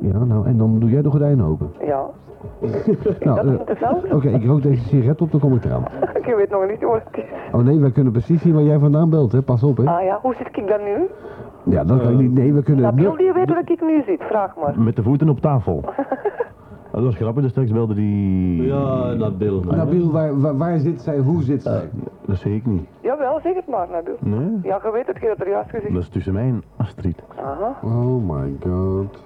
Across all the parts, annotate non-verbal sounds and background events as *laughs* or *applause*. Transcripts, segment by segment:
Ja, nou, en dan doe jij de gordijnen open. Ja, Nou, dat eh, is interessant. oké, ik rook deze sigaret op, dan kom ik eraan. *laughs* Ik weet nog niet hoor. het is. Oh nee, wij kunnen precies zien waar jij vandaan belt, hè. Pas op, hè. Ah ja, hoe zit ik dan nu? Ja, dat kan ik niet. Nee, we kunnen... Dat nu- wil je weten waar ik nu zit, vraag maar. Met de voeten *laughs* op tafel. Dat was grappig, dus straks belde die... Ja, Nabil. Nabil, waar, waar, waar zit zij? Hoe zit zij? Dat zie ik niet. Jawel, zeg het maar, Nabil. Nee, Ja, je weet het, je hebt er juist gezegd. dat is tussen mij en Astrid. Aha. Oh my god.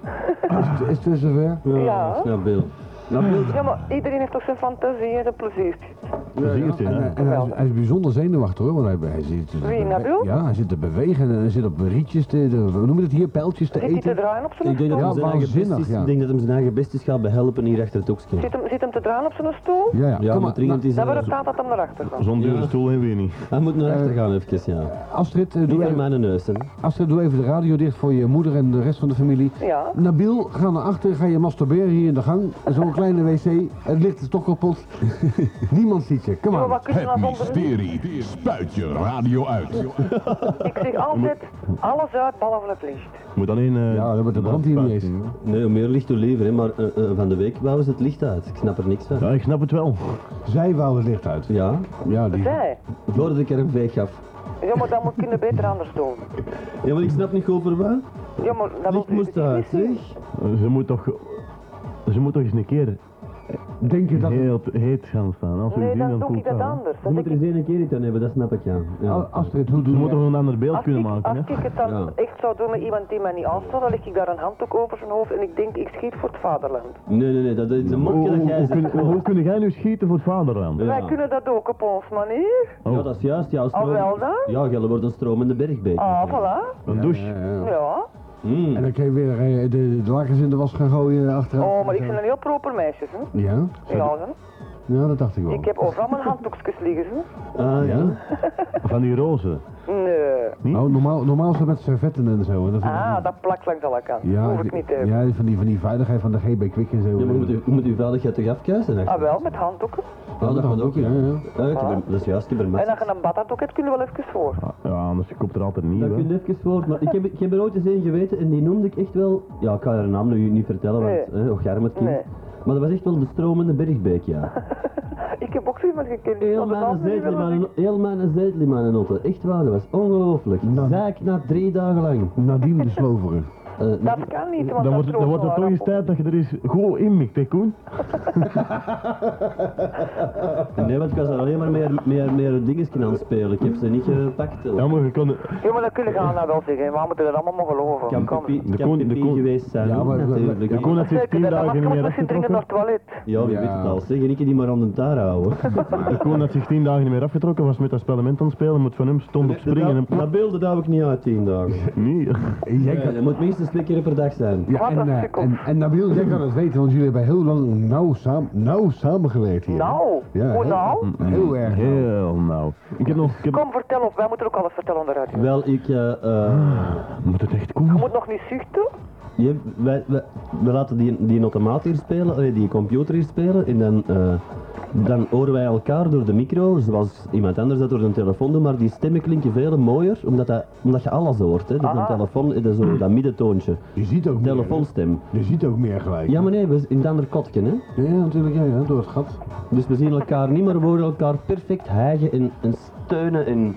Is het- Is het zover? Ja. Nabil. Nabil. Ja, maar iedereen heeft toch zijn fantasie en zijn plezier. Dat zie je het, En, hè? hij- en hij, is, hij is bijzonder zenuwachtig hoor, want hij, hij zit... te Wie, bewe- Nabil? Ja, hij zit te bewegen en hij zit op rietjes te... te- Hoe noem je het hier? Pijltjes te Zit hij te eten? draaien op zijn Ik denk dat stoel? hem Ja, zijn eigen best waanzinnig, is- ja. Ik denk dat hem zijn eigen best is gaat behelpen hier achter het oksje. Zit hem, zit hem te draaien op zijn stoel? Ja, ja. Ja, eh, Kom maar maar. dringend is Dan hij wordt het tijd dat hem erachter gaat. Zonder Ja. de stoel hebben we hier niet. Hij moet naar achter gaan even, ja. Nou, Astrid, eh, Doe doe maar even, mijn neus, hè. Astrid, doe even de radio dicht voor je moeder en de rest van de familie. Ja. Nabil, ga naar achter, ga je masturberen hier in de gang. Zo'n *laughs* kleine wc, het licht is toch kapot. Niemand ziet je, kom Maar maar. wat kun je nou zonder niet? mysterie spuit je radio uit. *laughs* Ik zeg altijd, alles uit behalve het licht. Moet alleen... eh, Ja, maar de brandt hier niet eens. Nee, hoe meer licht hoe liever, hè. Maar eh, eh, van de week wouden ze het licht uit. Ik snap er niks van. Ja, ik snap het wel. Zij wou het licht uit. Ja, Ja, die... Zij? voordat ik er een veeg gaf. Ja, maar dat moet kunnen beter anders doen. Ja, maar ik snap niet goed voor waar. Ja, maar dat Licht moet moest uit, zeg. Ze moet toch... Ze moet toch eens een keer Denk je dat... heel heet gaan staan. Als we Nee, zien, dan koelt doe ik dat anders. Ze Dan moet denk er ik, eens één keer iets aan hebben, dat snap ik, ja. Oh, ja. Astrid, hoe doe Ze moet je... toch een ander beeld als, kunnen ik, maken, als hè? ik het dan Ja. echt zou doen met iemand die mij niet aanstaat, dan leg ik daar een handdoek over zijn hoofd en ik denk, ik schiet voor het vaderland. Nee, nee, nee, dat is een Hoe, mopje dat jij hoe, zegt. kun, hoe kun jij nu schieten voor het vaderland? Ja. Wij kunnen dat ook op ons manier. Ja, dat is juist, ja. Al wel dan? Ja, Gelle wordt een stromende bergbeek. Ah, voilà. Een douche? Ja, ja. Ja. Mm. En dan kun je weer eh, de, de lakens in de was gaan gooien achteraf. Oh, maar ik ben een heel proper meisje, hè. Ja? Ja, hè. Ja, dat dacht ik wel. Ik heb overal mijn handdoekjes liggen, hè. Ah, ja. Van die rozen. Nee. Oh, normaal, normaal is dat met servetten en zo. En dat vind ik- Ah, dat plakt langs alle kanten. ja, Hoef ik niet eh. te hebben. ja, van die, van die veiligheid van de GB Quick en zo. eh, Ja, maar je moet, je, je moet uw veiligheid toch afkuisen? hè? Ah, wel, met handdoeken. Ja, dat gaat hangt ook, ook, ja. ja, ja. Ja, ik heb er- dat is juist, ik heb er En als massa. je een badhanddoek hebt, kunnen we wel even voor. Ja, anders komt er altijd niet, Dat kun hè? je even voor, maar ik heb, ik heb er ooit eens één geweten en die noemde ik echt wel... Ja, ik ga haar naam nu niet vertellen, want... Nee. hè, Och, arm het kind. Nee. Maar dat was echt wel de stromende bergbeek, *laughs* ja. Ik heb ook zo iemand gekend. die Heel van de mijn hand niet zetel, wilde- maar heel mijn zetel, maar een notte. Echt waar, dat was ongelooflijk. Zaak na drie dagen lang. Nadine de Sloverer. Eh, Dat kan niet, want Dan dat wordt, stroomt dan wordt wel het toch eens rap tijd dat je er eens goed in mikt, hè, Koen? nee, want ik was er alleen maar meer, meer, meer dingetjes aan het spelen. Ik heb ze niet gepakt. Ja, Ja, maar je kan... op. Ja, maar dat kunnen we gaan nou wel zeggen. Waar moeten we dat allemaal maar geloven? kan Kom. Pepie- de kan koen- de Pepie koen- geweest zijn, Ja, hoor, maar- natuurlijk. de De Koen had zich Zeker, tien dat mag dagen niet meer nog misschien dringend naar afgetrokken. het toilet. Ja, wie Ja. weet het al. Zeg, ik die maar aan de taar houden. De Koen had zich tien dagen niet meer afgetrokken, was met dat spellement aan het spelen, moet van hem stond op *laughs* springen en... Dat beelden daar ik niet uit, *laughs* tien dagen. Nee, Jij Nee, kan- dat moet minstens twee keer per dag zijn. Ja, Wat en, een eh, sukkel. en, en Nabil, jij kan het weten, want jullie hebben heel lang nauw, saam, nauw samengewerkt hier. hè? Nou, Ja, hoe hè? Mm. nou? Heel erg. nauw. heel nou. Ik heb nog... Ik heb... Kom, vertel op. Wij moeten ook alles vertellen aan de radio. Wel, ik... eh, eh, Moet het echt Je Koen? moet nog niet zuchten. je, wij, wij- we laten die, die automaat hier spelen, allee, die computer hier spelen, en dan, eh, dan horen wij elkaar door de micro, zoals iemand anders dat door de telefoon doet, maar die stemmen klinken veel mooier, omdat, dat, omdat je alles hoort. Hè. Dat is een Aha. telefoon, eh, dat is Hmm. zo, dat middentoontje. Je ziet ook meer. Telefoonstem. hè? Je ziet ook meer gelijk. Ja, maar nee, we, in het andere kotje, hè. Ja, ja, natuurlijk, ja, ja, door het gat. Dus we zien elkaar niet meer, we horen elkaar perfect hijgen en, en steunen en...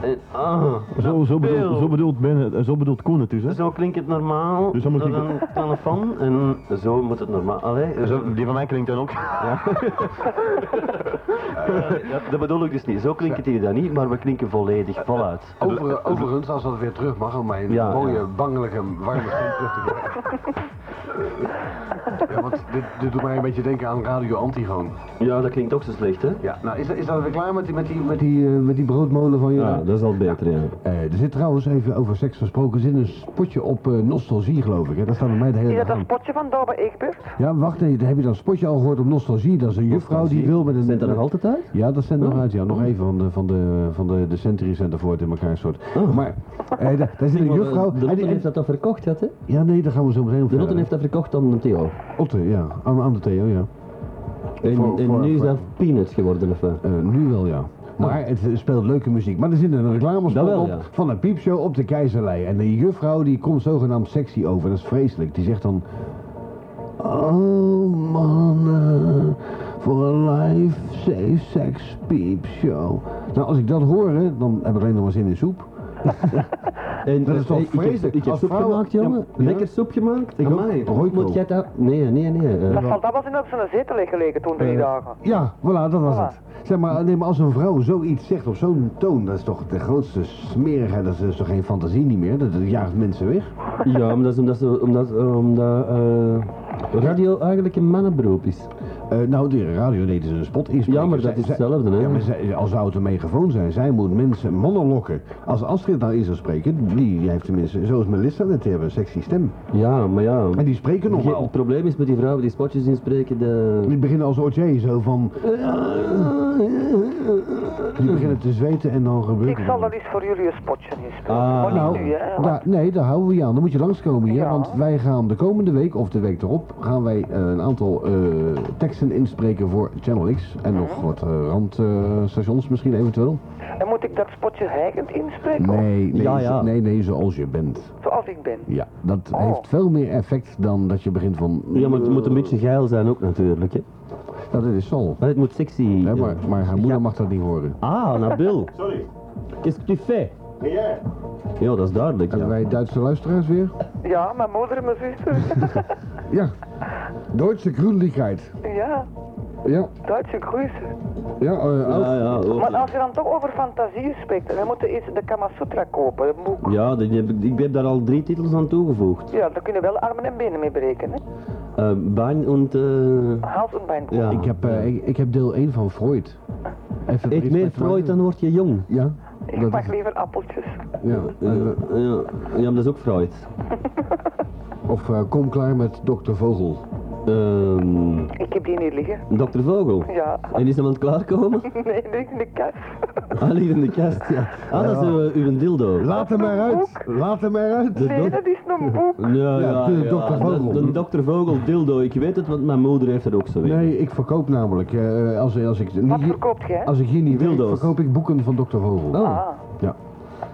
en ah, Zo, zo, bedoelt, Nabil. zo, bedoelt ben, het- eh, zo bedoelt Koen het dus, hè? Zo klinkt het normaal Dus dan moet door ik- een telefoon en zo moet het normaal. Allee, *laughs* eh, zo- Die van mij klinkt dan ook. dat, dat bedoel ik dus niet. Zo klinkt het hier dan niet, maar we klinken volledig voluit. Over, overigens, als dat weer terug mag, om mijn Ja, mooie, ja. bangelijke, warme stem terug te *laughs* krijgen. ja, want dit, dit doet mij een beetje denken aan Radio Antigoon. Ja, dat klinkt ook zo slecht, hè? Ja, nou, is, is dat weer klaar met die, met die, met die, eh, met die broodmolen van je? Ja, dat is al beter, ja. Eh, er zit trouwens even over seks gesproken, er zit een spotje op eh, nostalgie, geloof ik. Hè? Dat staat bij mij de hele Is dag dat een aan. spotje van Dabe Egbert? Ja, wacht even, heb je dat spotje al gehoord op nostalgie? Dat is een juffrouw die wil met een... Zijn er nog altijd Oh. uit? Ja, dat zijn nog uit, ja. Nog even van de, van de, van de, de Century Center voor het in elkaar soort. Maar eh, daar, daar zit een juffrouw... Oh. De en Notten die- heeft dat al verkocht, had, hè? ja, nee, daar gaan we zo meteen op De verder. Notten heeft dat verkocht aan de Theo. Otte, ja. Aan, aan de Theo, ja. En, Voor- en voor- nu is voor- dat Peanuts geworden, of wat? Eh, nu wel, ja. Maar het eh, speelt leuke muziek. Maar er zit een reclamespot Oh. Dat wel, op ja. van een piepshow op de keizerlei. En de juffrouw die komt zogenaamd sexy over. Dat is vreselijk. Die zegt dan... Oh man, eh, voor een live safe sex peep show. Nou, als ik dat hoor, hè, dan heb ik alleen nog maar zin in soep. En, Dat is eh, toch ik heb- vreselijk? Ik heb Als soep vrouwen- gemaakt, jongen. Ja. Lekker soep gemaakt. ook. Amai, hoe Royco. moet jij dat... Nee, nee, nee. eh, Dat, dat was in op zijn zetel liggen liggen toen drie dagen. Ja, voilà, dat was Voilà. het. Zeg maar, nee, maar als een vrouw zoiets zegt op zo'n toon, dat is toch de grootste smerigheid, dat is toch geen fantasie niet meer, dat dat jaagt mensen weg. ja, maar dat is omdat, ze- omdat, eh, omdat eh, radio eigenlijk een mannenberoep is. Eh, nou, de radio deed ze een spot inspreken. Ja, maar dat Zij- is zij- hetzelfde, hè? Ja, maar zij- als zou het een megafoon zijn, zij moet mensen mannen lokken. Als Astrid nou in zou spreken, die heeft tenminste, zoals Melissa net, die hebben een sexy stem. Ja, maar ja. En die spreken Ge- normaal. Het probleem is met die vrouwen die spotjes inspreken, de... Die beginnen als OJ zo van. Die beginnen te zweten en dan gebeurt Ik het. zal wel eens voor jullie een spotje inspelen. Ah, maar niet Nou, nu, hè. daar- nee, daar houden we je aan. Dan moet je langskomen hier. Ja. Want wij gaan de komende week of de week erop. gaan wij eh, een aantal eh, teksten inspreken voor Channel X. En nog Mhm. wat eh, randstations misschien eventueel. En moet ik dat spotje heigend inspreken? of Nee, nee, Oh. Ja, ja. zo- nee, nee, zoals je bent. Zoals ik ben. Ja, dat Oh. heeft veel meer effect dan dat je begint van. Ja, maar het moet een beetje geil zijn ook natuurlijk, hè. Nou, dit is Sol. Maar het moet sexy... Hè, eh, maar, maar haar moeder mag dat niet horen. Ah, Nabil. Sorry. Qu'est-ce que tu fais? Ben jij? Ja, dat is duidelijk, Hebben ja. wij Duitse luisteraars weer? Ja, mijn moeder en mijn zuster. Ja. Duitse grudeligheid. ja, Ja, Duitse groeien. ja, eh, ook. Ja, ja, ook. Maar nou- als je dan toch over fantasie spreekt, dan moeten we eerst de Kama Sutra kopen, een boek. Ja, die heb ik, ik heb daar al drie titels aan toegevoegd. Ja, daar kunnen wel armen en benen mee berekenen. Eh Bein en... eh Hals en bijn. ja. Ik, heb, eh, ik, ik heb deel 1 van Freud. Even Eet meer Freud, dan word je jong. Ja, ik dat pak is- liever appeltjes. ja. eh, Ja, ja, ja, maar dat is ook Freud. of eh, kom klaar met dokter Vogel. Ehm Ik heb die niet liggen. Dr. Vogel. Ja, *laughs* En is iemand klaarkomen? *laughs* nee, die ligt in de kast. Ah, ligt in de kast, ja. Ah, dat is uw, uw dildo. Laat hem eruit! Laat hem eruit! Nee, dok- dat is een boek. Ja, Ja, de Dr. Vogel. De, de Dr. Vogel dildo. Ik weet het, want mijn moeder heeft er ook zo een. Nee, ik verkoop namelijk. eh, als, als, ik, niet Wat hier- verkoopt jij? als ik hier niet wil, Dildo's. verkoop ik boeken van dokter Vogel. Oh, Ah, Ja.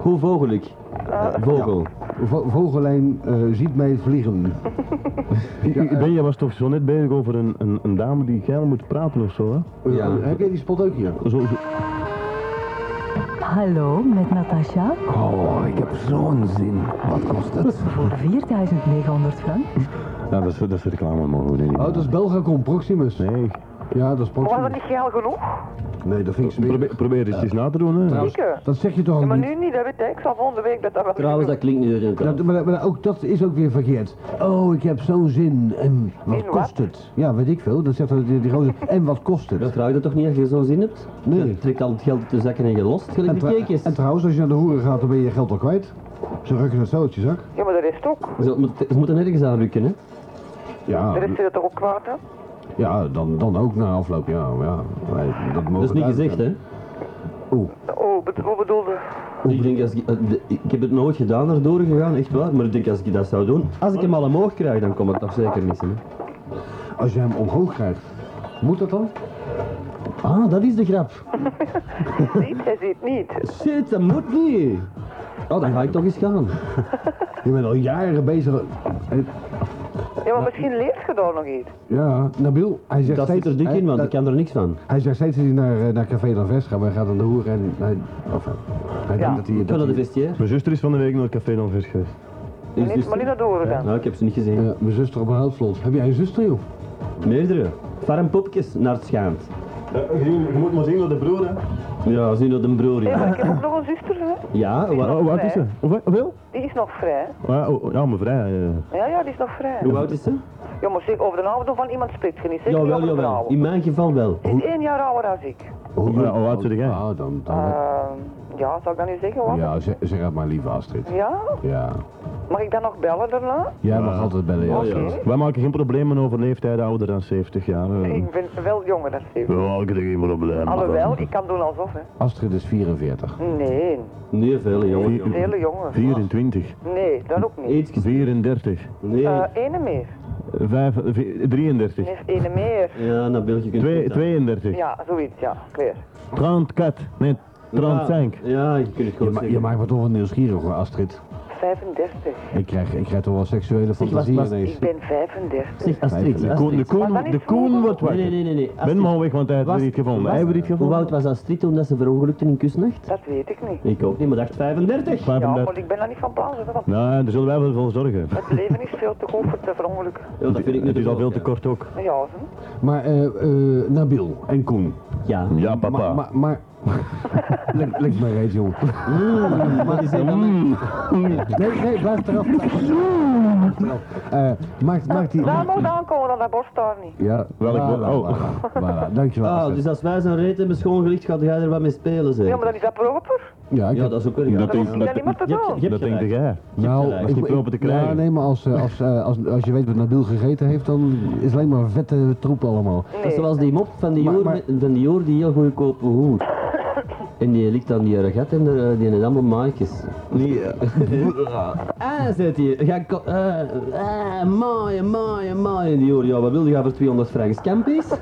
hoe vogel ik? Eh, vogel. Vo- Vogelijn eh, ziet mij vliegen. Ben, jij was toch zo net bezig over een, een, een dame die geil moet praten of zo, hè? Ja. Eh, Heb jij die spot ook hier? Zo, zo- Hallo, met Natasha Oh, ik heb zo'n zin. Wat kost het? voor 4900 frank. Ja, dat is, dat is reclame, mogen we die niet Oh, dat is Belgacom Proximus. maken. Nee, Ja, dat is was dat Proximus. niet geil genoeg? Nee, dat vind ik smerig. probeer, probeer het eens na te doen, hè. Zeker. Dat zeg je toch Ja, ook maar niet? nu niet, dat weet ik. Ik zal volgende week dat dat wel Trouwens, dat klinkt niet oriëntaal. Dat, maar, maar ook dat is ook weer verkeerd. Oh, ik heb zo'n zin. En wat In wat? kost het? Ja, weet ik veel. Dan zegt dat die, die gozer. En wat kost het? Dat vraag je dat toch niet als je zo'n zin hebt? Nee. Je trekt al het geld uit de zakken en je lost en, gelijk de tra- keekjes. en trouwens, als je naar de hoeren gaat, dan ben je je geld al kwijt. Ze rukken het zo uit je zak. Ja, maar de rest ook. Ze, moet- ze moeten nergens aan rukken, hè? De Ja, rest zit er toch ook kwaad, hè? ja dan, dan ook na afloop. Ja, maar ja wij- dat, Dat is niet gezegd, hè? Oh, bet- wat bedoelde? Ik denk als ik, eh, de- ik heb het nooit gedaan naar doorgegaan, echt waar. Maar ik denk als ik dat zou doen, als ik hem al omhoog krijg, dan kom ik toch zeker missen. Hè? Als je hem omhoog krijgt, moet dat dan? Ah, dat is de grap. Ziet, hij ziet niet. Shit, dat moet niet. Oh, dan ga ik toch eens gaan. Je bent al jaren bezig. En- Ja, maar misschien leert je daar nog iets. Ja, Nabil, hij zegt Dat steeds... zit er dik hij, in, want dat- ik kan er niks van. hij zegt steeds dat hij naar, eh, naar Café d'Anvers gaat, maar hij gaat aan de hoeren en hij... Of, hij- hij Ja. denkt dat hij... Ik ga dat naar de hij- vestiaire. Mijn zuster is van de week naar het café dan vers geweest. Is Niet, dus- maar niet naar door gaan. Nou, ik heb ze niet gezien. Ja, eh, mijn zuster op een houtslot. Heb jij een zuster, joh? Meerdere. Farmpopjes naar het schaamt. je moet maar zien dat de broer, hè. Ja, zien dat een broer Nee, is. maar ik heb ook nog een zuster, hè? Ja, wa- Oh, wat is ze? Hoeveel? Hoeveel? Die is nog vrij. hè? Ah, oh, ja, mevrouw. eh. Ja, ja, die is nog vrij. hoe oud is ze? Ja, maar zeg, over de ouderdom van iemand spreekt je niet. Zeg, Jawel, niet over de jawel. oude. In mijn geval wel. Ze is één jaar ouder dan ik. Hoe Ja, hoe oud zit jij? Ah, dan... dan Ehm, ja, zou ik dat nu zeggen? Wat? ja, zeg, zeg het maar lieve Astrid. Ja? Ja. Mag ik dan nog bellen daarna? Jij mag altijd bellen, Oh ja. Oké. Wij maken geen problemen over leeftijden ouder dan 70 jaar. eh. Ik ben wel jonger dan Steven. Ja, ik heb er geen probleem. Alhoewel, ik kan doen alsof, hè. Astrid is 44. Nee, Nee, veel jongen. Vier- jongen. hele jongen. 24, Nee, dat ook niet. Eetjes. 34, Nee. Eh ene meer. vijf- vi- 33, Nee, ene meer. Ja, naar België kunt twee- je 32, Ja, zoiets, ja. Weer. 34, nee, 35. Ja, je kunt het Je, gewoon ma- je zeggen. maakt me toch wel nieuwsgierig, hoor, Astrid. 35. Ik krijg, ik krijg toch wel seksuele was- fantasieën was- ineens. Ik ben 35. Zeg, Astrid, De De koen, de Astrid. koen, Maar dan is de het koen goed. wordt Nee, wakker. nee, nee, nee, nee. Ben Astrid, hem al weg, want hij heeft was- het niet gevonden. was- Hij heeft het niet Hoe gevonden. oud was Astrid toen dat ze verongelukte in Kusnacht? Dat weet ik niet. Ik ook niet, maar dacht 35. Ja, 35. maar ik ben daar niet van plan, zeg, want Nou, daar zullen wij wel voor zorgen. het leven is veel te goed voor te verongelukken. Ja, dat vind ik nu Het is toch al veel ook, te ja. kort ook. Ja, zo. Maar eh, eh, Nabil en Koen. Ja. Ja, papa. Maar, maar, maar... Lek- Lek maar *laughs* reeds, jongen. *laughs* Mm. Wat is dat dan? Mm. Nee, nee, blijf eraf. Eh, maakt, maakt die... Daar moet aankomen, Nou, dan dat borst daar niet. Ja, Welk voilà, woord? Oh. voilà, voilà. Dankjewel. Ah, Astrid. dus als wij zo'n reet hebben schoongelicht, gaat jij er wat mee spelen, zeg. Ja, maar dan is dat proper. ja, ik Ja, heb- dat is ook weer... Ja. Dan hoef ik dat niet meer te Je hebt- doen. je Dat hebt denk gelijk. jij. Nou, gelijk. ik- Is niet ik- proper te krijgen. Ja, nee, maar als, eh, als, eh, als, als je weet wat Nabil gegeten heeft, dan is het alleen maar vette troep allemaal. Dat is Nee. zoals die mop van die Maar- Joor, maar- met- van die, Joor die heel goedkope hoer. En die ligt aan die regat en er, eh, die heeft allemaal maatjes. Die, *laughs* ah, zegt hij. Ga, ko- eh, ah, maaien, maaien, maaien. Die Joor, ja, wat wil je voor 200 francs? Campies?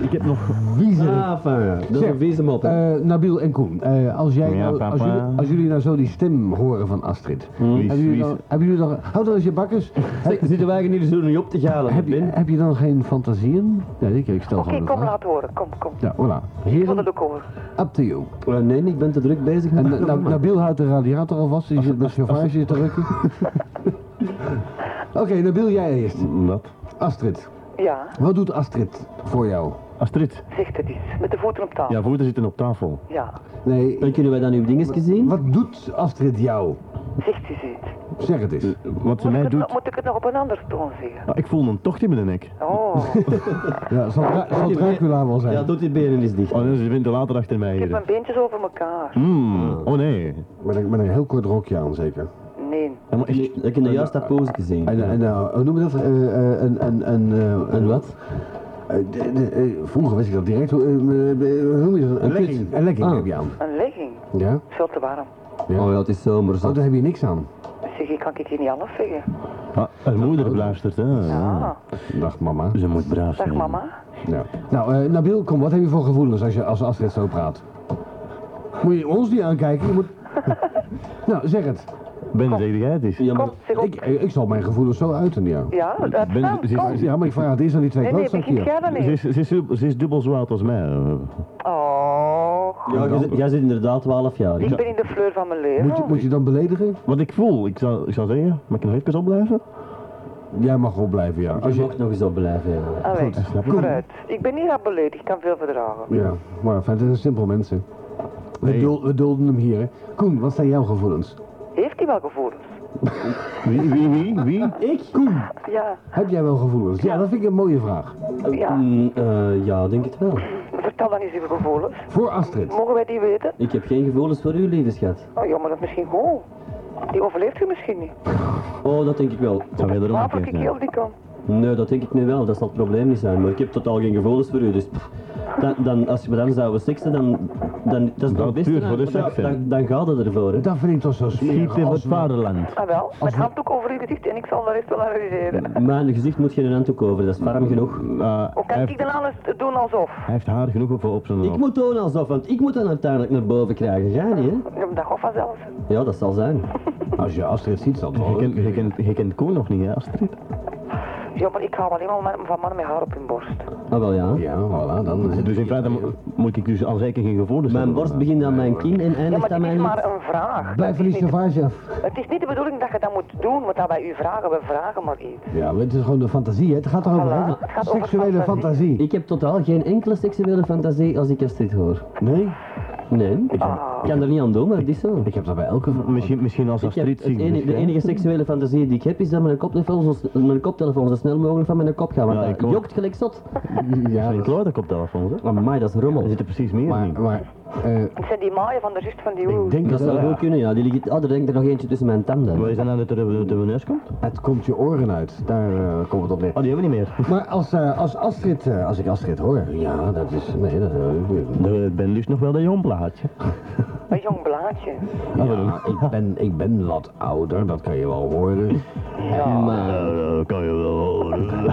Ik heb nog... Wiezerik. ah, fijn. *laughs* ja. Dat is Zeg, een vieze mop. hè. Eh Nabil en Koen, eh, als, jij Ja, nou, papa. als, jullie, als jullie nou zo die stem horen van Astrid, Wie is- hebben, jullie wie is- dan, hebben jullie dan... Hou dan eens je bakkers. Zeg, zitten wij hier zo niet op te galen? heb, je, Ben? heb je dan geen fantasieën? Ja, ik, ik stel Oké, gewoon de kom, vraag. laat horen. Kom, kom. Ja, voilà. Ik wil het Heren, ook horen. up to you. Eh, nee, ik ben te druk bezig met En eh, nou, Nabil houdt de radiator al vast, die zit met chauffage te *laughs* rukken. Oké, Nabil, jij eerst. Wat? Astrid, Ja, wat doet Astrid voor jou? Astrid, zeg het eens. Met de voeten op tafel. jouw voeten zitten op tafel. Ja. Nee, En kunnen wij dan uw dingetjes zien? wat doet Astrid jou? Zegt eens iets. Zeg het eens. Wat ze Moet ik, mij het, nog- doet... moet ik het nog op een andere toon zeggen? Ah, Ik voel een tocht in mijn nek. *laughs* Oh, Ja, zal, Dra- zal Dracula wel zijn? Ja, doet die benen eens dicht. Oh, dat is de ventilator achter mij ik heb hier. mijn beentjes over elkaar. Mm, Oh nee. Met, een, met een heel kort rokje aan, zeker. Nee. Ja, maar echt- Ik heb nou juist dat pose gezien. En, en nou, hoe noem je dat? Eh, eh, een, een, een, eh, En wat? eh, de- de- eh, vroeger wist ik dat direct. Hoe eh, eh, hoe noem je dat? Een, Een legging. legging. Een legging Ah. heb je aan. Een legging. Ja? Veel te warm. Ja. Oh ja, het is zomer. Oh, Zo. daar heb je niks aan. Zeg, ik kan ik hier niet alles zeggen. Ah, haar moeder luistert, hè. Ah, Dag mama. Ze moet braaf dag zijn. mama. Ja. Nou, eh, Nabil, kom, wat heb je voor gevoelens als, je, als Astrid zo praat? Moet je ons niet aankijken? Je moet... *laughs* nou, zeg het. Ben, zeg jij het eens? Ja, maar- Kom, zeg op. Ik, eh, ik zal mijn gevoelens zo uiten, ja. Ja, dat Ben- kan. ze- Kom. Ja, maar ik vraag het eerst aan die twee Nee, nee, begin klootzakjes. jij dan Ze niet. is, ze, is, ze is dubbel zo oud als mij. eh. Oh, Ja, jij zit- jij zit inderdaad 12 jaar. ik ben in de fleur van mijn Moet je, leven. moet je dan beledigen? Wat ik voel, ik zou, ik zou zeggen, mag ik nog even opblijven? Jij mag opblijven, ja. Als je je, mag nog eens opblijven. Ja. Allee, snap ik. Ah, vooruit. Ik ben niet hard beledigd, ik kan veel verdragen. ja, maar fijn, het zijn simpel mensen. We, Nee. dul- we dulden hem hier. hè. Koen, wat zijn jouw gevoelens? Heeft hij wel gevoelens? Wie, wie, wie? wie? Ik? Koen, Ja, heb jij wel gevoelens? Ja, dat vind ik een mooie vraag. Oh, ja. Mm, eh, ja, denk het wel. Vertel dan eens uw gevoelens. Voor Astrid. Mogen wij die weten? Ik heb geen gevoelens voor u, lieve schat. Oh ja, maar dat is misschien gewoon. Die overleeft u misschien niet. Oh, dat denk ik wel. Zou jij erom Waarom kijken? ik heel die kan. Nee, dat denk ik nu wel. Dat zal het probleem niet zijn. Maar ik heb totaal geen gevoelens voor u, dus... pff. Dan, dan, als we dan zouden seksen, dan... dan dat is nog Dat het beste. duurt voor de dan, dan, seks, hè. dan, dan gaat het ervoor, hè. Dat vind ik toch zo Schiet smerig. in als het we- vaderland. Ah wel, met handdoek over uw gezicht en ik zal de rest wel analyseren. Mijn gezicht moet geen handdoek over, dat is warm genoeg. Ah, Hoe hij, kan ik heeft, dan alles doen alsof? hij heeft haar genoeg op, op zijn Ik hoofd. moet doen alsof, want ik moet dan uiteindelijk naar boven krijgen. Ga niet, hè? Ja, maar Dat gaat vanzelf. Ja, dat zal zijn. Als je Astrid ziet, zal het Je wel. kent, je, kent, je kent Koen nog niet, hè, Astrid? Ja, maar ik hou alleen maar van mannen met haar op hun borst. Ah, wel ja. Ja, voilà, dan is het. Dus in feite mo- moet ik dus al zeker geen gevoelens Mijn hebben. borst begint aan mijn kin en Ja, eindigt maar aan het is mijn... maar een vraag. Blijf van Dat die is niet- chauffage af. Het is niet de bedoeling dat je dat moet doen, want dat wij u vragen, we vragen maar iets. Ja, maar het is gewoon de fantasie, hè. Het gaat erover, Voilà, hè. het gaat over Seksuele fantasie. Ik heb totaal geen enkele seksuele fantasie als ik Astrid hoor. Nee? Nee, ik Ah. kan er niet aan doen, maar het is zo. Ik heb dat bij elke... Misschien, misschien als Ik heb Astrid het zich enige- de beschrijft. enige seksuele fantasie die ik heb is dat mijn koptelefoon zo, mijn koptelefoon zo snel mogelijk van mijn kop gaat, want Ja, dat ik ook. jokt gelijk zot. Ja, Zijn kloot op telefoon, hè? Amai, dat is Er rommel. zitten precies meer in. maar... maar eh, Het zijn die maaien van de rust van die ik oer. denk Dat dat... zou goed kunnen, ja. Die ligt, oh, er denkt er nog eentje tussen mijn Wat tanden. is dat nou dat er uit mijn neus komt? Oh, Het komt je oren uit. Daar eh, komt het op neer. die hebben we niet meer. Maar als, eh, als Astrid, eh, als ik Astrid hoor, ja, dat is, nee, dat eh, Ik ben dus nog wel dat jong plaatje. Ah. Een jong blaadje. ja, ik ben, ik ben wat ouder, dat kan je wel horen. Maar, Eh, dat kan je wel horen.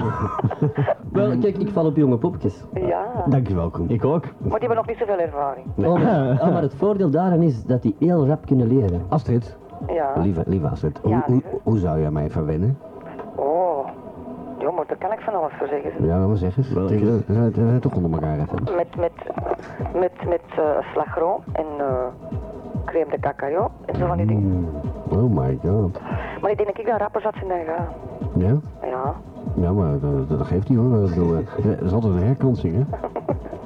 wel, kijk, ik val op jonge popjes. Ja. Dankjewel, Koen. Ik ook. Maar die hebben nog niet zoveel ervaring. Oh, maar, oh, maar het voordeel daarin is dat die heel rap kunnen leren. Astrid, Ja. lieve, lieve Astrid, hoe, Ja, hoe, lieve. hoe zou jij mij verwennen? Oh. Jongen, daar kan ik van alles voor zeggen. ze. Ja, maar zeg eens. Wel, Het is- ik- We zijn- we zijn eh, toch onder elkaar even. Met, met, met, met eh, slagroom en eh, crème de cacao en zo van die dingen. Oh my god. Maar ik denk dat ik dan rapper zat zijn gaan. Ja? Ja. Ja, maar eh, dat, dat geeft niet hoor. Ik bedoel, eh, Er is altijd een herkansing, hè?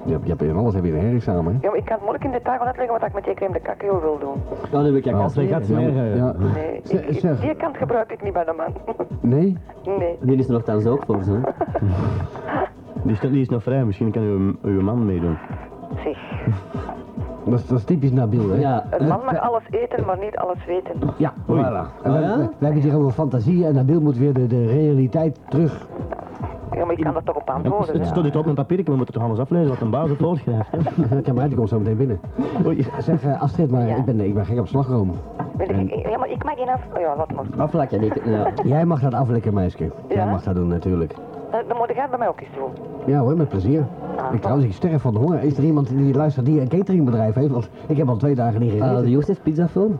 Je hebt, je hebt in alles heb je een herexamen, hè? ja, maar ik kan het moeilijk in detail gaan uitleggen wat ik met die crème de cacao wil doen. Dan heb ik ja Als hij gaat smeren. Ja, Nee, ik, Zeg- ik- zeg. die kant gebruik ik niet bij de man. *laughs* nee? nee. Die is er nogthans ook voor, zo. Die is, die is nog vrij, misschien kan uw, uw man meedoen. Zeg, Dat is, dat is typisch Nabil, hè? Ja. een man mag alles eten, maar niet alles weten. Ja. Voilà. En wij, Oh ja? wij hebben het hier over fantasie en Nabil moet weer de, de realiteit *laughs* terug. Ja, maar ik kan er toch op antwoorden. Het hè. staat dit op mijn papier, we moeten toch alles aflezen wat een baas het voorschrijft. hè? Ja, maar die komt zo meteen binnen. Oei. Zeg eh, Astrid, maar Ja. ik, ben, ik ben gek op slagroom. Weet ik- ik- Ja, maar ik mag geen af... Ja, wat maar. Aflakken, ik. Ja. Jij mag dat aflekken, meisje. Jij Ja? mag dat doen, natuurlijk. Eh, Dan moet jij bij mij ook eens doen. Ja hoor, met plezier. Ah. Ik trouwens, ik sterf van de honger. Is er iemand die luistert die een cateringbedrijf heeft? Want ik heb al twee dagen niet gegeten. Ah, de Joost heeft pizzafoon.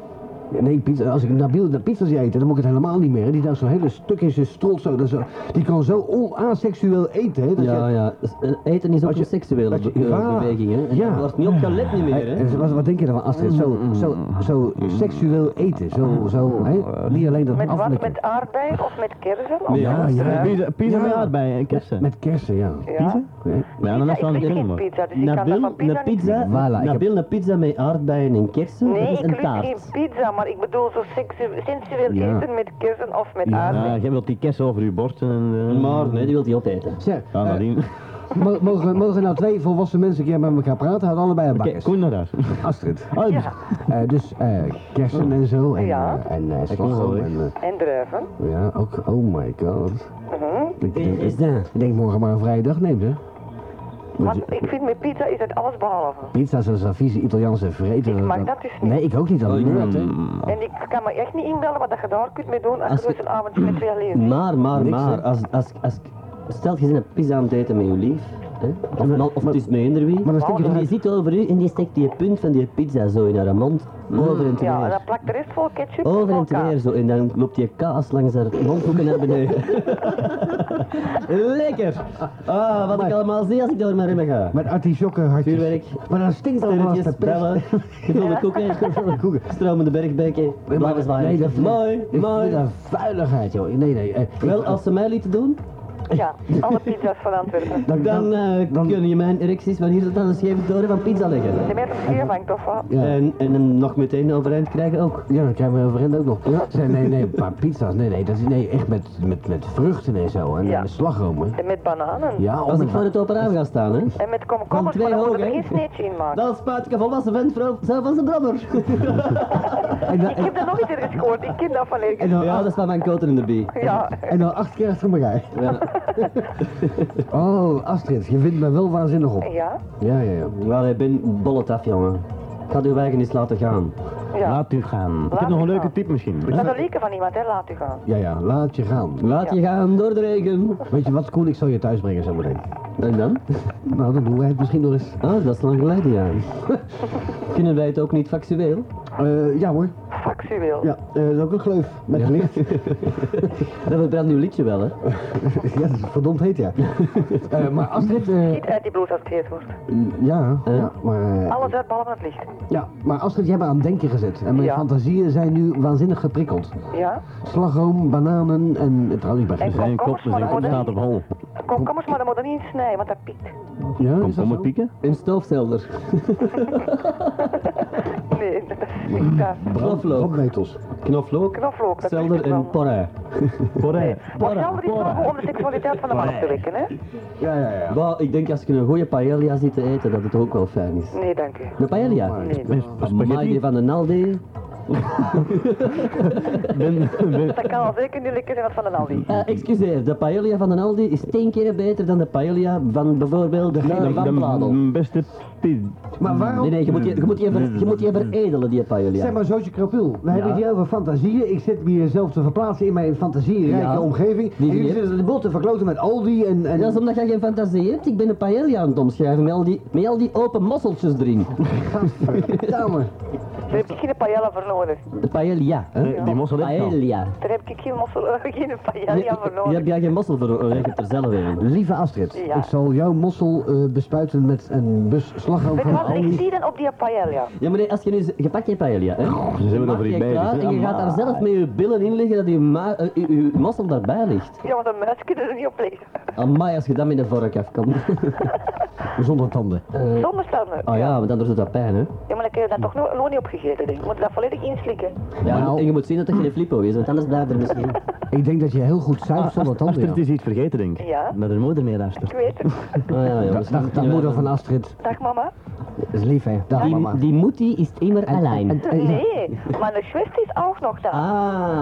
Nee, pizza, als ik Nabil de pizza zie eten, dan moet ik het helemaal niet meer. hè. Die daar zo'n hele stuk in zijn strot zo. dat is zo- Die kan zo onaseksueel eten. Hè, dat Ja, je- ja. Dus, eh, Eten is ook een seksuele als je- be- eh, ja. beweging, hè. En Ja. Ah. Er wordt niet op gelet niet meer, hè. Mm. Hey, wat, wat denk je ervan, Astrid? Zo, zo, zo seksueel eten. Zo, zo hè? Niet alleen dat Met wat? aflekken. Met aardbeien of met kersen? Of- Ja, ja. Pizza, pizza met aardbeien en kersen. Met kersen, ja. Ja. Nee. Ja, Ja, dan is ik het wel een vind kind, geen man. pizza, dus ik kan dat Nabil, van pizza een niet... pizza, Voilà, ik Nabil, een pizza met aardbeien en kersen, Nee, dat is ik een lust taart. geen pizza, maar ik bedoel zo seksueel, sensueel Ja. eten met kersen of met Ja, Ah, aardbeien. je hebt dat die kersen over uw bord en... eh, Maar, nee, die wil hij opeten. Zeg, Ja, eh, nadien. mo- mogen, mogen nou twee volwassen mensen een keer met elkaar praten? Houden allebei een Kijk, bakkes. Koen naar huis. Astrid. Oh, Ja. Eh, dus eh, Oh. kersen en zo. En, Ja. eh, en eh, wil wel slagroom. weg. En, eh, En druiven. Ja, ook. Oh my god. Mhm. Ik denk, Is dat? ik denk morgen maar een vrije dag neemt, hè? Want ik vind met pizza is het alles behalve. Pizza's en zo'n vieze Italiaanse vreten. Ik mag dat dus niet. Nee, ik ook Oh, niet. Dat leurt, hè? En ik kan me echt niet inbeelden wat dat je daar kunt mee doen als Als Mm. je je- zo'n avondje met twee alleen zit. Maar, maar, Niks, maar, hè? als, als, als, stel je bent een pizza aan het eten met je lief, hè? of, nou- of het is met eender wie, maar dan steek je en toch die uit- zit over u en die steekt die punt van die pizza zo in haar mond, over en Ja, en teneer. dan plakt de rest vol ketchup en Over vol en kaas. teneer zo, en dan loopt je kaas langs haar mondhoeken naar beneden. *laughs* Lekker! Ah, wat ik allemaal zie als ik door mijn remmen ga. Met artisjokken hartjes. Vuurwerk. Maar dan stinkt het allemaal als de Sterretjes, Oh, pest. bellen, gevulde koeken, gevulde koeken, stromende bergbeken, blauwe Nee, zwaaien. dat Mooi, dat- mooi. dat is een vuiligheid, joh. Nee, nee. eh, ik- Wel, als ze mij lieten doen, Ja, alle pizza's van Antwerpen. dan, Dan, eh dan- kun je mijn erecties wanneer dat aan de scheve doren van pizza leggen. De meer scheef hangt of wat? Ja. Oh En, en hem nog meteen overeind krijgen ook. Ja, dan krijgen we overeind ook nog. Nee, nee, nee, maar pizza's, nee, nee, dat is nee, echt met, met, met vruchten en zo, en Ja. met slagroom, hè. En met bananen. Ja, Als met- ik voor het open raam ga staan, hè. En met Van komkommers, twee maar dan moet hoog, je er hè. geen sneetje in maken. Dan spuit ik een volwassen vent voor- zelf als een brabber. en, dan, Ik heb en, dat nog niet ergens gehoord, ik ken dat van ergens. en dan Ja, acht, dat staat mijn koter in de bie. Ja, en dan acht keer achter elkaar. Oh, Astrid, je vindt me wel waanzinnig op. ja, Ja, ja, ja. Maar ik ben bollet af, jongen. Ik ga uw eigen eens laten gaan. ja. Laat u gaan. Ik Laat heb nog u een leuke gaan. tip misschien. Dat is een lieke van iemand, hè, laat u gaan. Ja, ja, laat je gaan. Laat je gaan door de regen. Weet je wat, Koen, ik zal je thuis brengen zometeen. En dan? Nou, dan doen wij het misschien nog eens. Ah, dat is lang geleden, ja. *laughs* Kunnen wij het ook niet factueel? Eh, ja hoor. Factueel. Ja, eh, dat is ook een gleuf. Met licht. Dat verbrandt uw liedje wel, hè. *laughs* ja, dat is verdomd heet, *laughs* ja. Eh, maar Astrid, eh, Niet uit die blouse als het heet wordt. Mm, ja, ja, maar... eh, Alles uit behalve het licht. Ja, maar Astrid, jij hebt me aan het denken gezet. En mijn Ja. fantasieën zijn nu waanzinnig geprikkeld. Ja. Slagroom, bananen en... Trouwens, ik ben En geen... Zijn kop, komkommers, maar zijn dan kop moet staat je op hol. komkommers, maar dan moet je niet snijden, want dat piekt. Ja, is dat Kom zo? op pieken. Een stoofzelder. Nee, dat Mm. piekt daar. Knoflook. Brandnetels. Knoflook. Knoflook, dat Zelder piekt wel. en porrij. Porij. Maar zelder is wel goed om de seksualiteit van de man op te wekken, hè? Ja, ja, ja. Maar ik denk als je een goede paella zit te eten, dat het ook wel fijn is. Nee, dank u. De paella? Oh, Nee, Met Maai Spaghetti. *laughs* van de Naldi, Ben, ben, Dat kan al zeker niet lekker zijn als van een Aldi. Eh, excuseer, de paella van de Aldi is tien keer beter dan de paella van bijvoorbeeld de dan- van dan- Bladel. dan beste pi- Maar waarom? Nee, nee, je moet je, je, moet je, ver- je, moet je veredelen, die paella. Zeg maar, Zootje Krapul, we hebben Ja. het hier over fantasieën. Ik zit me hier zelf te verplaatsen in mijn fantasierijke Ja. omgeving. Die en jullie hier. zitten de bol te verkloten met Aldi en... en... Dat is omdat jij geen fantasie hebt. Ik ben een paella aan het omschrijven met al die, met al die open mosseltjes erin. *laughs* Gadverdamme. Daar heb ik geen paella voor nodig. De paella. Hè? die mossel heb ik al. Paella. Daar heb ik geen, mossel, *laughs* geen Je paella voor je nodig. hebt jij geen mossel voor, eh, je hebt er zelf een. Lieve Astrid, Ja. ik zal jouw mossel eh, bespuiten met een bus slagroom Weet je van wat, ik Aldi. zie dan op die paella. Ja, maar nee, als je nu... z- Je pakt je paella, hè? zijn we Je dan maakt voor die je bij, klaar dus, hè? en je gaat daar Amai. zelf met je billen in liggen dat je, ma- eh, je, je mossel daarbij ligt. Ja, want een muis kunnen er niet op liggen. Amai, als je dan met een vork afkomt. Zonder tanden. Zonder standen. Oh ja, maar dan doet het dat pijn, hè? Ja, maar dan heb je dat toch nog nog niet opgegeten, denk ik. Moet je dat volledig inslikken. Ja, Nou. en je moet zien dat dat geen flippo is, want anders blijft er *laughs* misschien... Ik denk dat je heel goed zuipt zonder tanden. Astrid ja. is iets vergeten, denk ik. Ja, Met haar moeder mee luisteren. ik weet het. Oh ja, ja. Dag, dag, moeder van Astrid. Dag mama. Dat is Dus lief, hè. Dag, mama. Eh, Die, die moetie is immer alleen. En- en- Nee, mijn zuster is ook nog daar.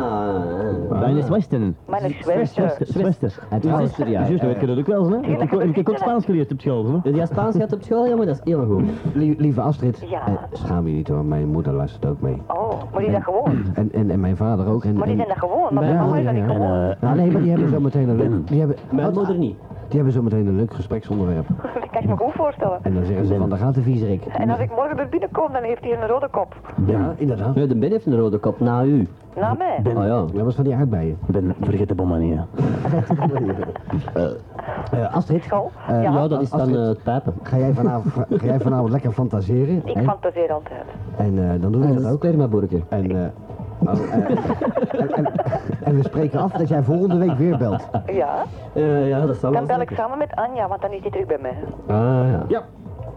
Ah. Bijna is Westen. Mijn zuster. Zwester. Het was er, ja. Juist, dat Dus weet je dat ook wel eens, hè? Ja, dat Ik kan ik heb ook ik Spaans geleerd op school, hè? Dat jij Spaans gaat op school, ja, maar dat is heel goed. Lie- lieve Astrid. Ja. Eh, schaam je niet hoor, mijn moeder luistert ook mee. Oh, maar die zijn gewoon. *laughs* En, en, en mijn vader ook. En, Maar die en- zijn dat gewoon, want mijn mama is dat niet gewoon. Nou, nee, maar die hebben zo meteen een leuk... Die hebben, Mijn Wat? moeder niet. Die hebben zo meteen een leuk gespreksonderwerp. Dat kan ik me goed voorstellen. En dan zeggen ze van, daar gaat de viezerik. En als ik morgen er binnenkom, dan heeft hij een rode kop. Nou, Ja, inderdaad. Nee, de Ben heeft een rode kop na u. Na mij. Oh ja. Dat was van die aardbeien. Ben, vergeet de bomma niet, hè. Eh, Astrid, School. Ja, Ja, dat is dan eh, het pijpen. ga jij vanavond, ga jij vanavond lekker fantaseren? ik hè? fantaseer altijd. En eh, dan doen we Dat dat is ook. spermaboerker. En, eh, oh, eh, *laughs* en, en, en we spreken af dat jij volgende week weer belt. Ja, Eh, ja, dat zou dan wel bel zijn. ik samen met Anja, want dan is hij terug bij mij. Ah, ja. Ja.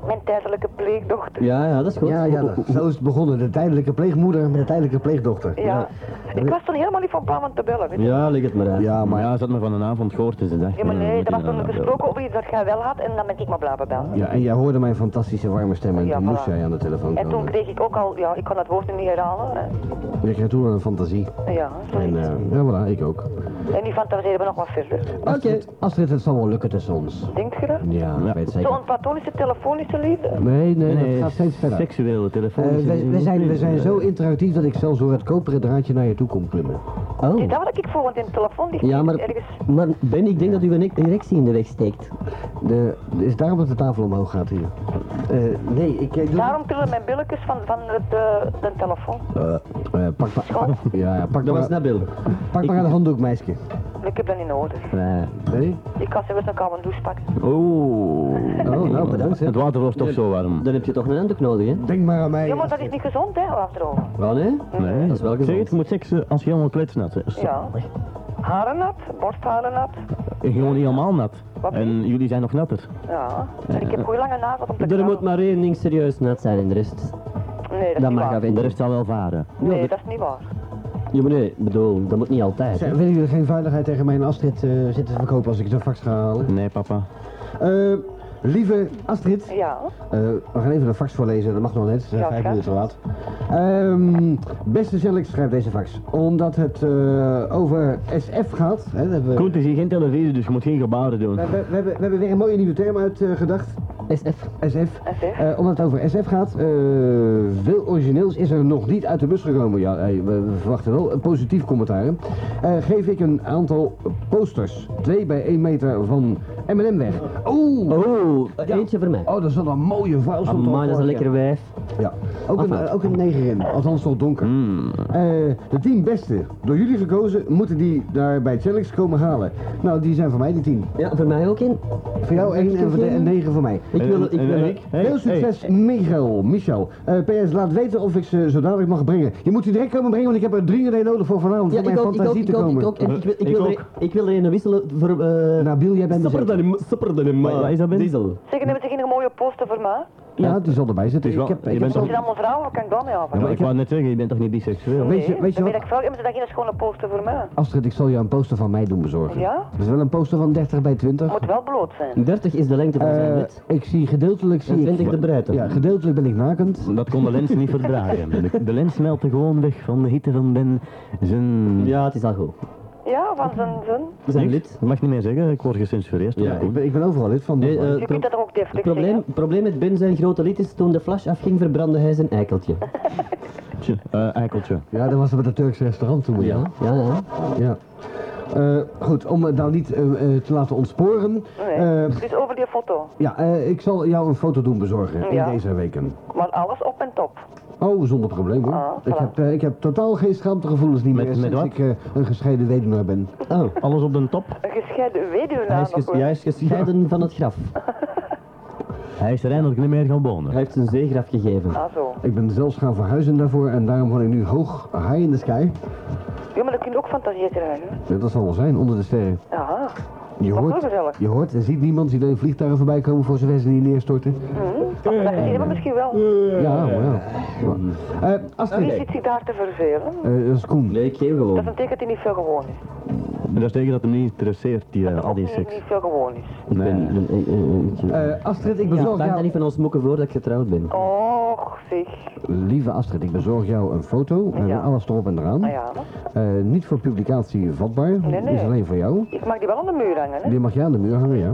Mijn tijdelijke pleegdochter. Ja, ja, dat is goed. Ja, ja, dat- zo is het begonnen. De tijdelijke pleegmoeder met de tijdelijke pleegdochter. Ja. Ik was toen helemaal niet van plan om te bellen. weet je. Ja, leg het maar uit. Ja, Oh, Maar maar... ja, ze had me van een avond gehoord, dus ze dacht... Ja, maar eh, nee, moet er was je nou toen bellen? gesproken over iets dat jij wel had en dan ben ik maar blijven bellen. Ja, en jij hoorde mijn fantastische warme stem en Ja, toen moest voilà. jij aan de telefoon En toen komen. kreeg ik ook al, ja, ik kan dat woord nu niet herhalen. hè. Je kreeg toen al een fantasie. Ja, En zoiets. eh, ja, voilà, ik ook. En die fantaseren we nog wat verder. Oké. Astrid, het zal wel lukken tussen ons. Denkt je dat? Ja, ik weet het zeker. Zo'n platonische, telefonische liefde. Nee, nee, Nee, nee, het gaat steeds verder. Seksuele telefoon. Eh, we, we zijn, we zijn zo interactief dat ik zelfs door het koperen draadje naar je toe kom klimmen. Oh. Is dat wat ik voel? Want in de telefoon die Ja, maar, ergens... maar Ben, ik denk dat u een ec- erectie in de weg steekt. De, is daarom dat de tafel omhoog gaat hier? Eh, nee, ik... ik doe- Daarom trillen mijn billetjes van, van het, eh, de telefoon. *laughs* Eh, eh, pak maar... Pak, ja, ja, pak, Dat was maar, Nabil. pak maar een handdoek, meisje. Ik heb dat niet nodig. Nee? Ik kan ze best nog aan mijn douche pakken. *laughs* Oeh. Oh, nou, bedankt, hè. Het water wordt toch zo warm. Dan heb je toch een handdoek nodig, hè? Denk maar aan mij. Ja, maar dat is niet gezond, hè, afdrogen. Wel, nee? Nee. Dat is wel Zeg het, gezond. je moet seksen als je helemaal kletsnat bent. Ja. Haren nat, borstharen nat. En Gewoon niet helemaal nat. Wat? En jullie zijn nog natter. Ja. En ik heb goeie lange nagels op de Er kraan. moet maar één ding serieus net zijn en de rest... Nee, dat is Dat niet mag waar. af en De de rest rest... zal wel varen. Nee, dat is niet waar. Ja, maar nee, ik bedoel, dat moet niet altijd. Zeg, willen jullie geen veiligheid tegen mijn Astrid eh, zitten verkopen als ik de fax ga halen? Nee, papa. Eh, lieve Astrid, Ja. Eh, we gaan even de fax voorlezen, dat mag nog net, we zijn Ja, vijf graag. minuten te laat. Ehm, beste Zelix, schrijf deze fax. Omdat het eh, over SF gaat, hè, dat hebben we, Koen, het is hier geen televisie, dus je moet geen gebaren doen. we, we- we hebben, we hebben weer een mooie nieuwe term uitgedacht. SF. SF. SF. Eh, omdat het over SF gaat, eh, veel origineels is er nog niet uit de bus gekomen. Ja, hey, we, we verwachten wel een positief commentaar. hè. Eh, geef ik een aantal posters, twee bij 1 meter van M&M weg. Oeh! Oh, eentje voor mij. Oh, dat is wel een mooie vuil. stond er al Amai, dat is een vorig jaar. lekkere wijf. Ja, ook een, eh, Afhaal. ook een negerin, althans tot donker. Hmm. Eh, de tien beste, door jullie gekozen, moeten die daar bij Challenge komen halen. Nou, die zijn voor mij, die tien. Ja, voor mij ook één. Voor jou één en voor de, en negen voor mij. Ik wil... En- Ik en- en wil... ik? Hey, Veel succes, Michael. Michel. Eh, PS, laat weten of ik ze zo dadelijk mag brengen. Je moet ze direct komen brengen, want ik heb er dringend een nodig voor vanavond. Ja, om mijn ik ook, ik ook, fantasie ik te ook, komen. Nou, ik ook. En ik wil, ik Ik wil, ook. er, ik wil er een wisselen voor... eh Nabil, jij bent bezet. Supper dan in- supper dan in mij. Wat is dat, Ben? Eh, Diesel. Zeggen, hebben ze geen mooie poster voor mij? Ja, die zal erbij zitten. Het is wel- ik heb, ik je heb bent zelf- Zijn allemaal vrouwen? Wat Kan ik daarmee Ja, aanvangen? maar ik wou net zeggen, je bent toch niet biseksueel? weet je- Nee, weet je dan wat- ben ik vrouw. Ja, maar dat is geen schone poster voor mij. Astrid, ik zal je een poster van mij doen bezorgen. Ja? Dat is wel een poster van 30 bij 20. Moet wel bloot zijn. 30 is de lengte van Oh, zijn Eh, lid. ik zie gedeeltelijk... Zie En 20 ik, de breedte. Ja, gedeeltelijk ben ik nakend. Dat kon de lens niet verdragen. De, de lens smelte gewoon weg van de hitte van ben zijn... Ja, het is al goed. Ja, van zijn zin. Zijn lid. Dat mag ik niet meer zeggen, ik word gecensureerd. Ja, Ja, Ik ben, ik ben overal lid van. Nee, dat- eh, Je pro- kunt dat toch ook deftig probleem, zeggen? probleem met Ben zijn grote lied is, toen de flash afging verbrandde hij zijn eikeltje. Eh, eikeltje. ja, dat was het met het Turks restaurant toen. Ja. Ja, ja. Ja. Eh, goed, om het nou niet eh, eh, te laten Oh, ontsporen. Nee. Eh, Dus over die foto. ja, eh, ik zal jou een foto doen bezorgen Ja. in deze weken. Maar alles op en top. Oh, zonder probleem hoor. Ah, ik, voilà. heb, eh, ik heb totaal geen schaamtegevoelens niet Met- meer met sinds wat? ik eh, een gescheiden weduwnaar ben. Oh, Alles op de top. Een gescheiden weduwnaar hij is, nog ges- hoor. hij is gescheiden van het graf. Hij is er eindelijk niet meer gaan wonen. Hij heeft zijn zeegraf gegeven. Ah zo. Ik ben zelfs gaan verhuizen daarvoor en daarom woon ik nu hoog, high in the sky. Ja, maar dat kun je ook fantasieën krijgen. Ja, dat zal wel zijn, onder de sterren. Ja. Je Wat hoort, wel gezellig. je hoort en ziet niemand, ziet alleen vliegtuigen voorbij komen voor zover ze die neerstorten. Dat zie je maar misschien wel. Ja, maar ja. Maar- Eh, Wie Astrid, zit zich daar te vervelen? Eh, dat is Koen. Nee, ik geef Dat is gewoon. een teken dat hij niet veel gewoon is. Dat is tegen dat hem niet interesseert, die, eh, al Ook die niet, seks. niet veel gewoon is. Ik ben... ik ben- eh, eh, ik- Eh, Astrid, ik Ja, bezorg Dank jou... dan niet van ons mokken voor dat ik getrouwd ben. Och, zeg. Lieve Astrid, ik bezorg jou een foto met Ja. alles erop en eraan. Nou ja, Eh, niet voor publicatie vatbaar, Nee, nee. is alleen voor jou. ik mag die wel aan de muur hangen, hè? Die mag je aan de muur hangen, ja.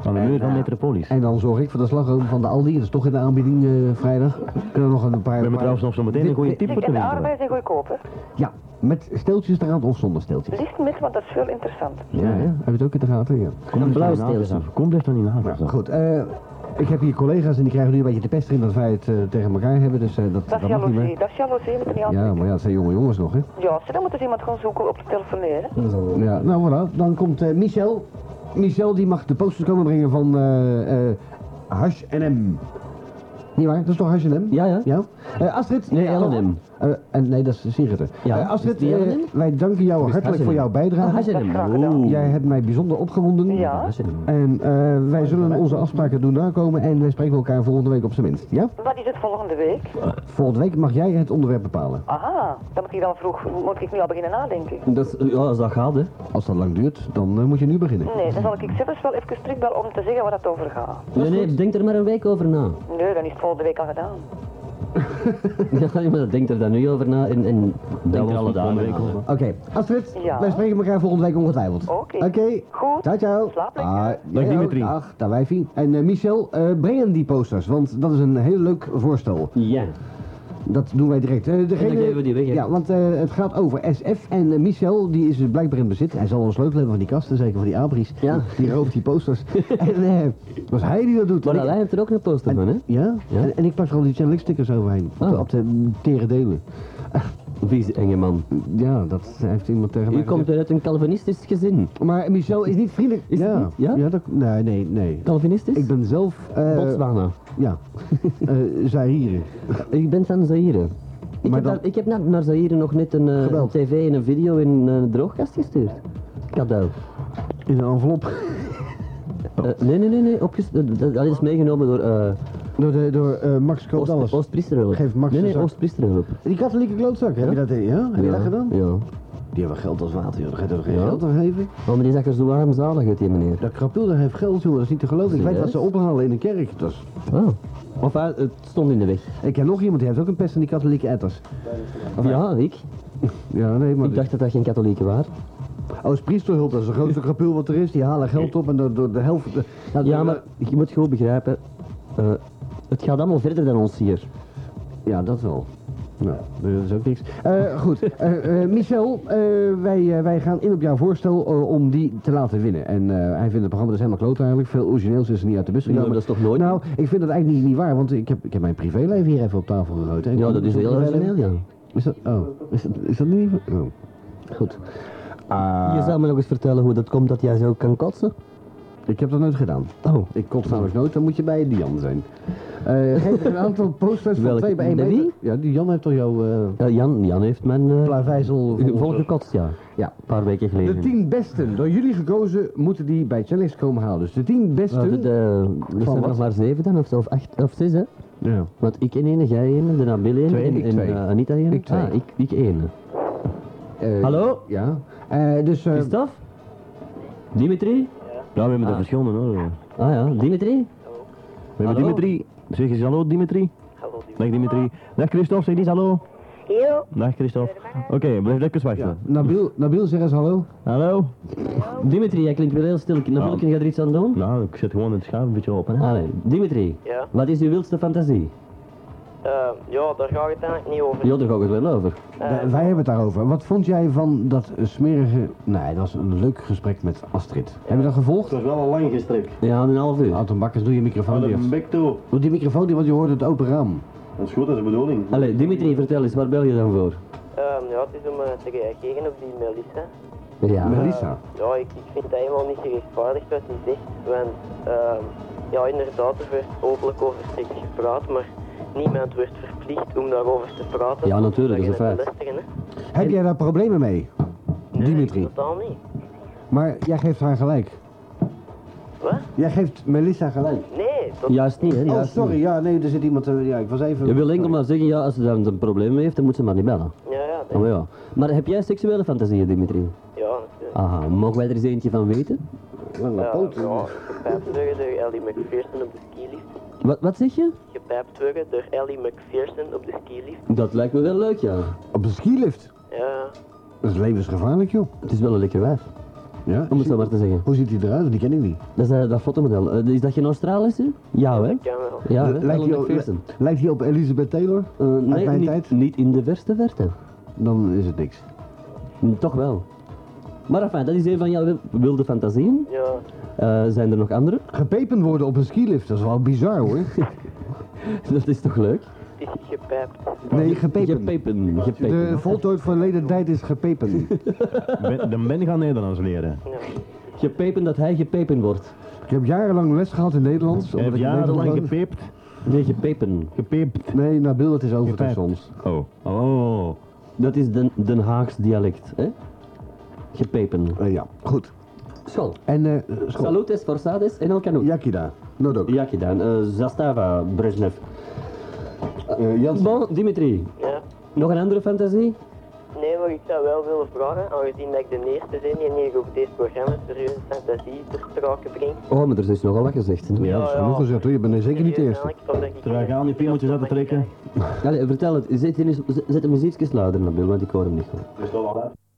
Van de muur van Metropolis. We En dan zorg ik voor de slagroom van de Aldi, dat is toch in de aanbieding eh, vrijdag. Kunnen we nog een paar... hebben paar- trouwens nog zo meteen een goede tip Zeg, voor te en Dus de leveren. arbeid zijn goedkoop, hè? Ja, met steeltjes eraan of zonder steeltjes. Liefst met, want dat is veel interessant. Ja, ja. Heb je het ook in de gaten? Ja. Kom blijf blauwe van die nagels steeltjes. af. Kom blijf van die nagels af. Goed, eh, ik heb hier collega's en die krijgen nu een beetje de pest in dat wij het eh, tegen elkaar hebben, dus eh, dat, Dat dat is mag niet meer. jaloezie, dat is jaloezie, moet je niet Ja, aan. maar ja, het zijn jonge jongens nog, hè? Ja, ze dan moet eens iemand gaan zoeken op te telefoneren. Ja, nou voilà, dan komt eh, Michel. Michel die mag de posters komen brengen van eh eh Hash NM. Niet waar? Dat is toch Hash NM? Ja, ja. Ja? Eh, Astrid? Nee, L&M. Eh, en nee, dat is Sigrid. Ja, Eh, Astrid, is die eh, L&M? wij danken jou hartelijk Hash voor NM. jouw bijdrage. Ah, Dat is graag Hazenem. gedaan. Jij hebt mij bijzonder opgewonden. Ja, En eh, wij zullen onze afspraken doen nakomen en wij spreken elkaar volgende week op zijn minst. Ja? wat is het volgende week? Volgende week mag jij het onderwerp bepalen. Aha, dan moet ik dan vroeg, moet ik nu al beginnen nadenken? Dat, is- ja, als dat gaat, hè. Als dat lang duurt, dan eh, moet je nu beginnen. Nee, dan zal ik zelfs wel even terugbellen om te zeggen waar het over gaat. Nee, nee, denk er maar een week over *laughs* na. Nee, dan is het volgende week al gedaan. Ja, maar denk er dan nu over na en, en denk was er alle niet van dagen de week over. Oké, Astrid, Ja. wij spreken elkaar volgende week ongetwijfeld. Oké. Oké. Goed. Ciao, ciao. Slaap lekker. Ah, Dag, hello. Dimitri. Dag, daar wijfie. En eh, Michel, eh, breng hem die posters, want dat is een heel leuk voorstel. Ja. Dat doen wij direct. Eh, degene... dan geven we die weg, hè? Ja, want eh, het gaat over SF en eh, Michel, die is dus blijkbaar in bezit. Hij zal een sleutel hebben van die kasten, zeker van die abris. Ja. Die rooft die *laughs* posters. en eh, het was hij die dat doet. Maar En ik- Alain heeft er ook een poster van, hè? Ja? Ja. En, en ik plak er al die Channel stickers overheen. Op, de, Oh. op de tere delen. Vieze enge man. Ja, dat heeft iemand tegen mij U komt gezegd. uit een Calvinistisch gezin. Maar Michel is niet vriendelijk. Is het ja. niet? Ja? dat, nee, nee, nee. Calvinistisch? Ik ben zelf... eh, Botswana. Ja. *laughs* Eh Zaire. U bent van Zaire. Ik Maar heb, dan- daar- ik heb naar, naar Zaire nog net een, eh, Gebeld. een tv en een video in eh, een droogkast gestuurd. Cadeau. In een envelop. Eh, nee, nee, nee, nee. opges- eh, dat, dat is meegenomen door eh Door, de, door eh, Max Koop Oost, alles. Oost-Priesterhulp. Geef Max nee, een nee, zak. Oost-Priesterhulp. Die katholieke klootzak, hè? Heb je dat, ja? Heb je dat gedaan? eh, Ja. Die hebben geld als water, joh. Daar ga je toch geen Ja. geld aan geven? Oh, maar die zag er zo armzalig uit, die meneer. Dat krapiel, daar heeft geld, jongen. Dat is niet te geloven. Ik weet wat Serieus? ze ophalen in de kerk. Dat is- Oh. Of hij, het stond in de weg. Ik ken nog iemand, die heeft ook een pest aan die katholieke etters. ja, ik. Ja, nee, maar... Ik dacht dat dat geen katholieken waren. Oost Priesterhulp, dat is de *laughs* grootste krapiel wat er is. Die halen geld op en door, door de helft... de- Nou, Ja, maar je moet gewoon begrijpen, eh, het gaat allemaal verder dan ons hier. Ja, dat wel. Nou, dat is ook niks. Eh, goed, Eh, eh, Michel, eh, wij, eh, wij gaan in op jouw voorstel eh, om die te laten winnen. En eh, hij vindt het programma dus helemaal kloot eigenlijk. Veel origineels is er niet uit de bus gekomen. maar dat is toch nooit? Nou, ik vind dat eigenlijk niet, niet waar, want ik heb, ik heb mijn privéleven hier even op tafel gegooid. hè. Ja, dat is heel origineel, ja. Is dat, oh, is dat, is dat niet... Oh. Ah. Goed. Je zou me nog eens vertellen hoe dat komt dat jij zo kan kotsen? Ik heb dat nooit gedaan. Oh. Ik kot namelijk nooit, dan moet je bij Dian zijn. Eh geef een aantal posters van Welke? 2 bij 1 Bij meter. wie? Ja, die Jan heeft toch jouw eh Eh, Jan, Jan heeft mijn eh *laughs* plaveisel volgekotst, ja. Ja. Een paar weken De geleden. 10 besten, door jullie gekozen, moeten die bij Challenge komen halen. Dus de 10 Nou, besten. de, de, er zijn er wat? nog maar zeven dan, of, zo, of acht, of zes, hè? Ja. Want ik en ene, jij ene, de Nabil ene, Twee, en, ik en, twee. eh, Anita ene. Ik twee. Ah, ik, ik ene. eh, Hallo? Ja. Eh, dus eh, Christophe? Dimitri? Ja, Nou, we hebben Ah. er verschillende hoor. We Ah ja, Dimitri? hebben Dimitri. Zeg eens hallo Dimitri. Hallo, die- Dag Dimitri. Dag Christophe, zeg eens hallo. Yo, Dag Christophe. Oké, blijf lekker wachten. Nabil, Nabil, zeg eens hallo. Hallo? Dimitri, jij klinkt wel heel stil. Nabil, kun je er iets aan doen? Nou, ik zet gewoon het schuif een beetje open. Hè. Ah, nee. Dimitri, Ja, wat is uw wildste fantasie? Eh, ja, daar gaat het eigenlijk niet over. Ja, daar ga ik het wel over. Eh, wij hebben het daarover. Wat vond jij van dat eh, smerige... Nee, dat was een leuk gesprek met Astrid. Heb je dat gevolgd? is wel een lang gesprek. Oh, Ja, een half uur. Anton Bakkers, doe je microfoon dicht. bek toe. Doe die microfoon dicht, want je hoort het open raam. Dat is goed, dat is de bedoeling. Allee, Dimitri, vertel eens, waar bel je dan voor? Ehm, ja, het is om eh, te reageren op die Melissa. Ja. Melissa. Ja, ik, ik vind dat helemaal niet gerechtvaardigd wat hij zegt. Want, ehm, ja, inderdaad, er werd openlijk over seks gepraat, maar niemand werd verplicht om daarover te praten. Ja, natuurlijk, Om dat is daarin een te feit. luisteren, hè. Heb jij daar problemen mee? Dimitri. Totaal niet. Maar jij geeft haar gelijk. Wat? Jij geeft Melissa gelijk. Nee, tot... Juist niet, hè? Oh, Juist sorry. niet. Ja, nee, er zit iemand... eh, ja, ik was even... Je wil enkel sorry. maar zeggen, ja, als ze daar een probleem mee heeft, dan moet ze maar niet bellen. ja, ja, dat- Oh ja. Maar heb jij seksuele fantasieën, Dimitri? ja, natuurlijk. Aha, mogen wij er eens eentje van weten? Lange Ja, poot. ja, gepijpt worden door Ellie McPherson op de skilift. Wat, wat zeg je? Gepijpt worden door Ellie McPherson op de skilift. Dat lijkt me wel leuk, ja. Op de skilift. Ja, Dat is levensgevaarlijk, joh. Het is wel een lekker wijf, Ja. om het zo maar te zeggen. Hoe ziet hij eruit? Die ken ik niet. Dat is eh, dat fotomodel. Eh, is dat geen Australische? Ja, hè? kan wel. Ja, hè? lijkt, hij Ellen op, McPherson. lijkt hij op Elizabeth Taylor? Eh, nee, mijn niet, tijd? niet in de verste verte. Dan is het niks. Hm, Toch wel. Maar enfin, dat is een van jouw wil- wilde fantasieën. Ja, Eh, zijn er nog andere? *laughs* Gepepen worden op een skilift, dat is wel bizar, hoor. dat is toch leuk? het is gepijpt. Nee, gepepen. Gepepen. De Gepepen. voltooid verleden tijd is gepepen. *laughs* Ben, dan ben gaan Nederlands leren. Gepepen dat hij gepepen wordt. Ik heb jarenlang les gehad in Nederlands. Ik heb omdat ik in Nederland jarenlang woon. gepeept. Nee, gepepen. Gepeept. Nee, Nabil, het is over Gepijpt. tussen ons. Oh. Oh. Dat is Den, Den Haags dialect, hè? Gepepen. Eh, ja, goed. Schol. En eh school. Salutes, forsades en el canut. Yakida. Nodok. Ja, gedaan. Eh, Zastava, Brezhnev. Eh, Jansen. Bon, Dimitri. Ja. Nog een andere fantasie? Nee, maar ik zou wel willen vragen, aangezien dat ik de eerste ben die hier op dit programma serieus fantasie ter sprake brengt. Oh, maar er is nogal wat gezegd. hè? Ja, dat is genoeg gezegd hoor. Je bent zeker niet de eerste. Terwijl je aan die piemeltjes uit te trekken. Allee, vertel het. Zet, in, zet de muziekjes luider, Nabil, want ik hoor hem niet goed. Dat is wel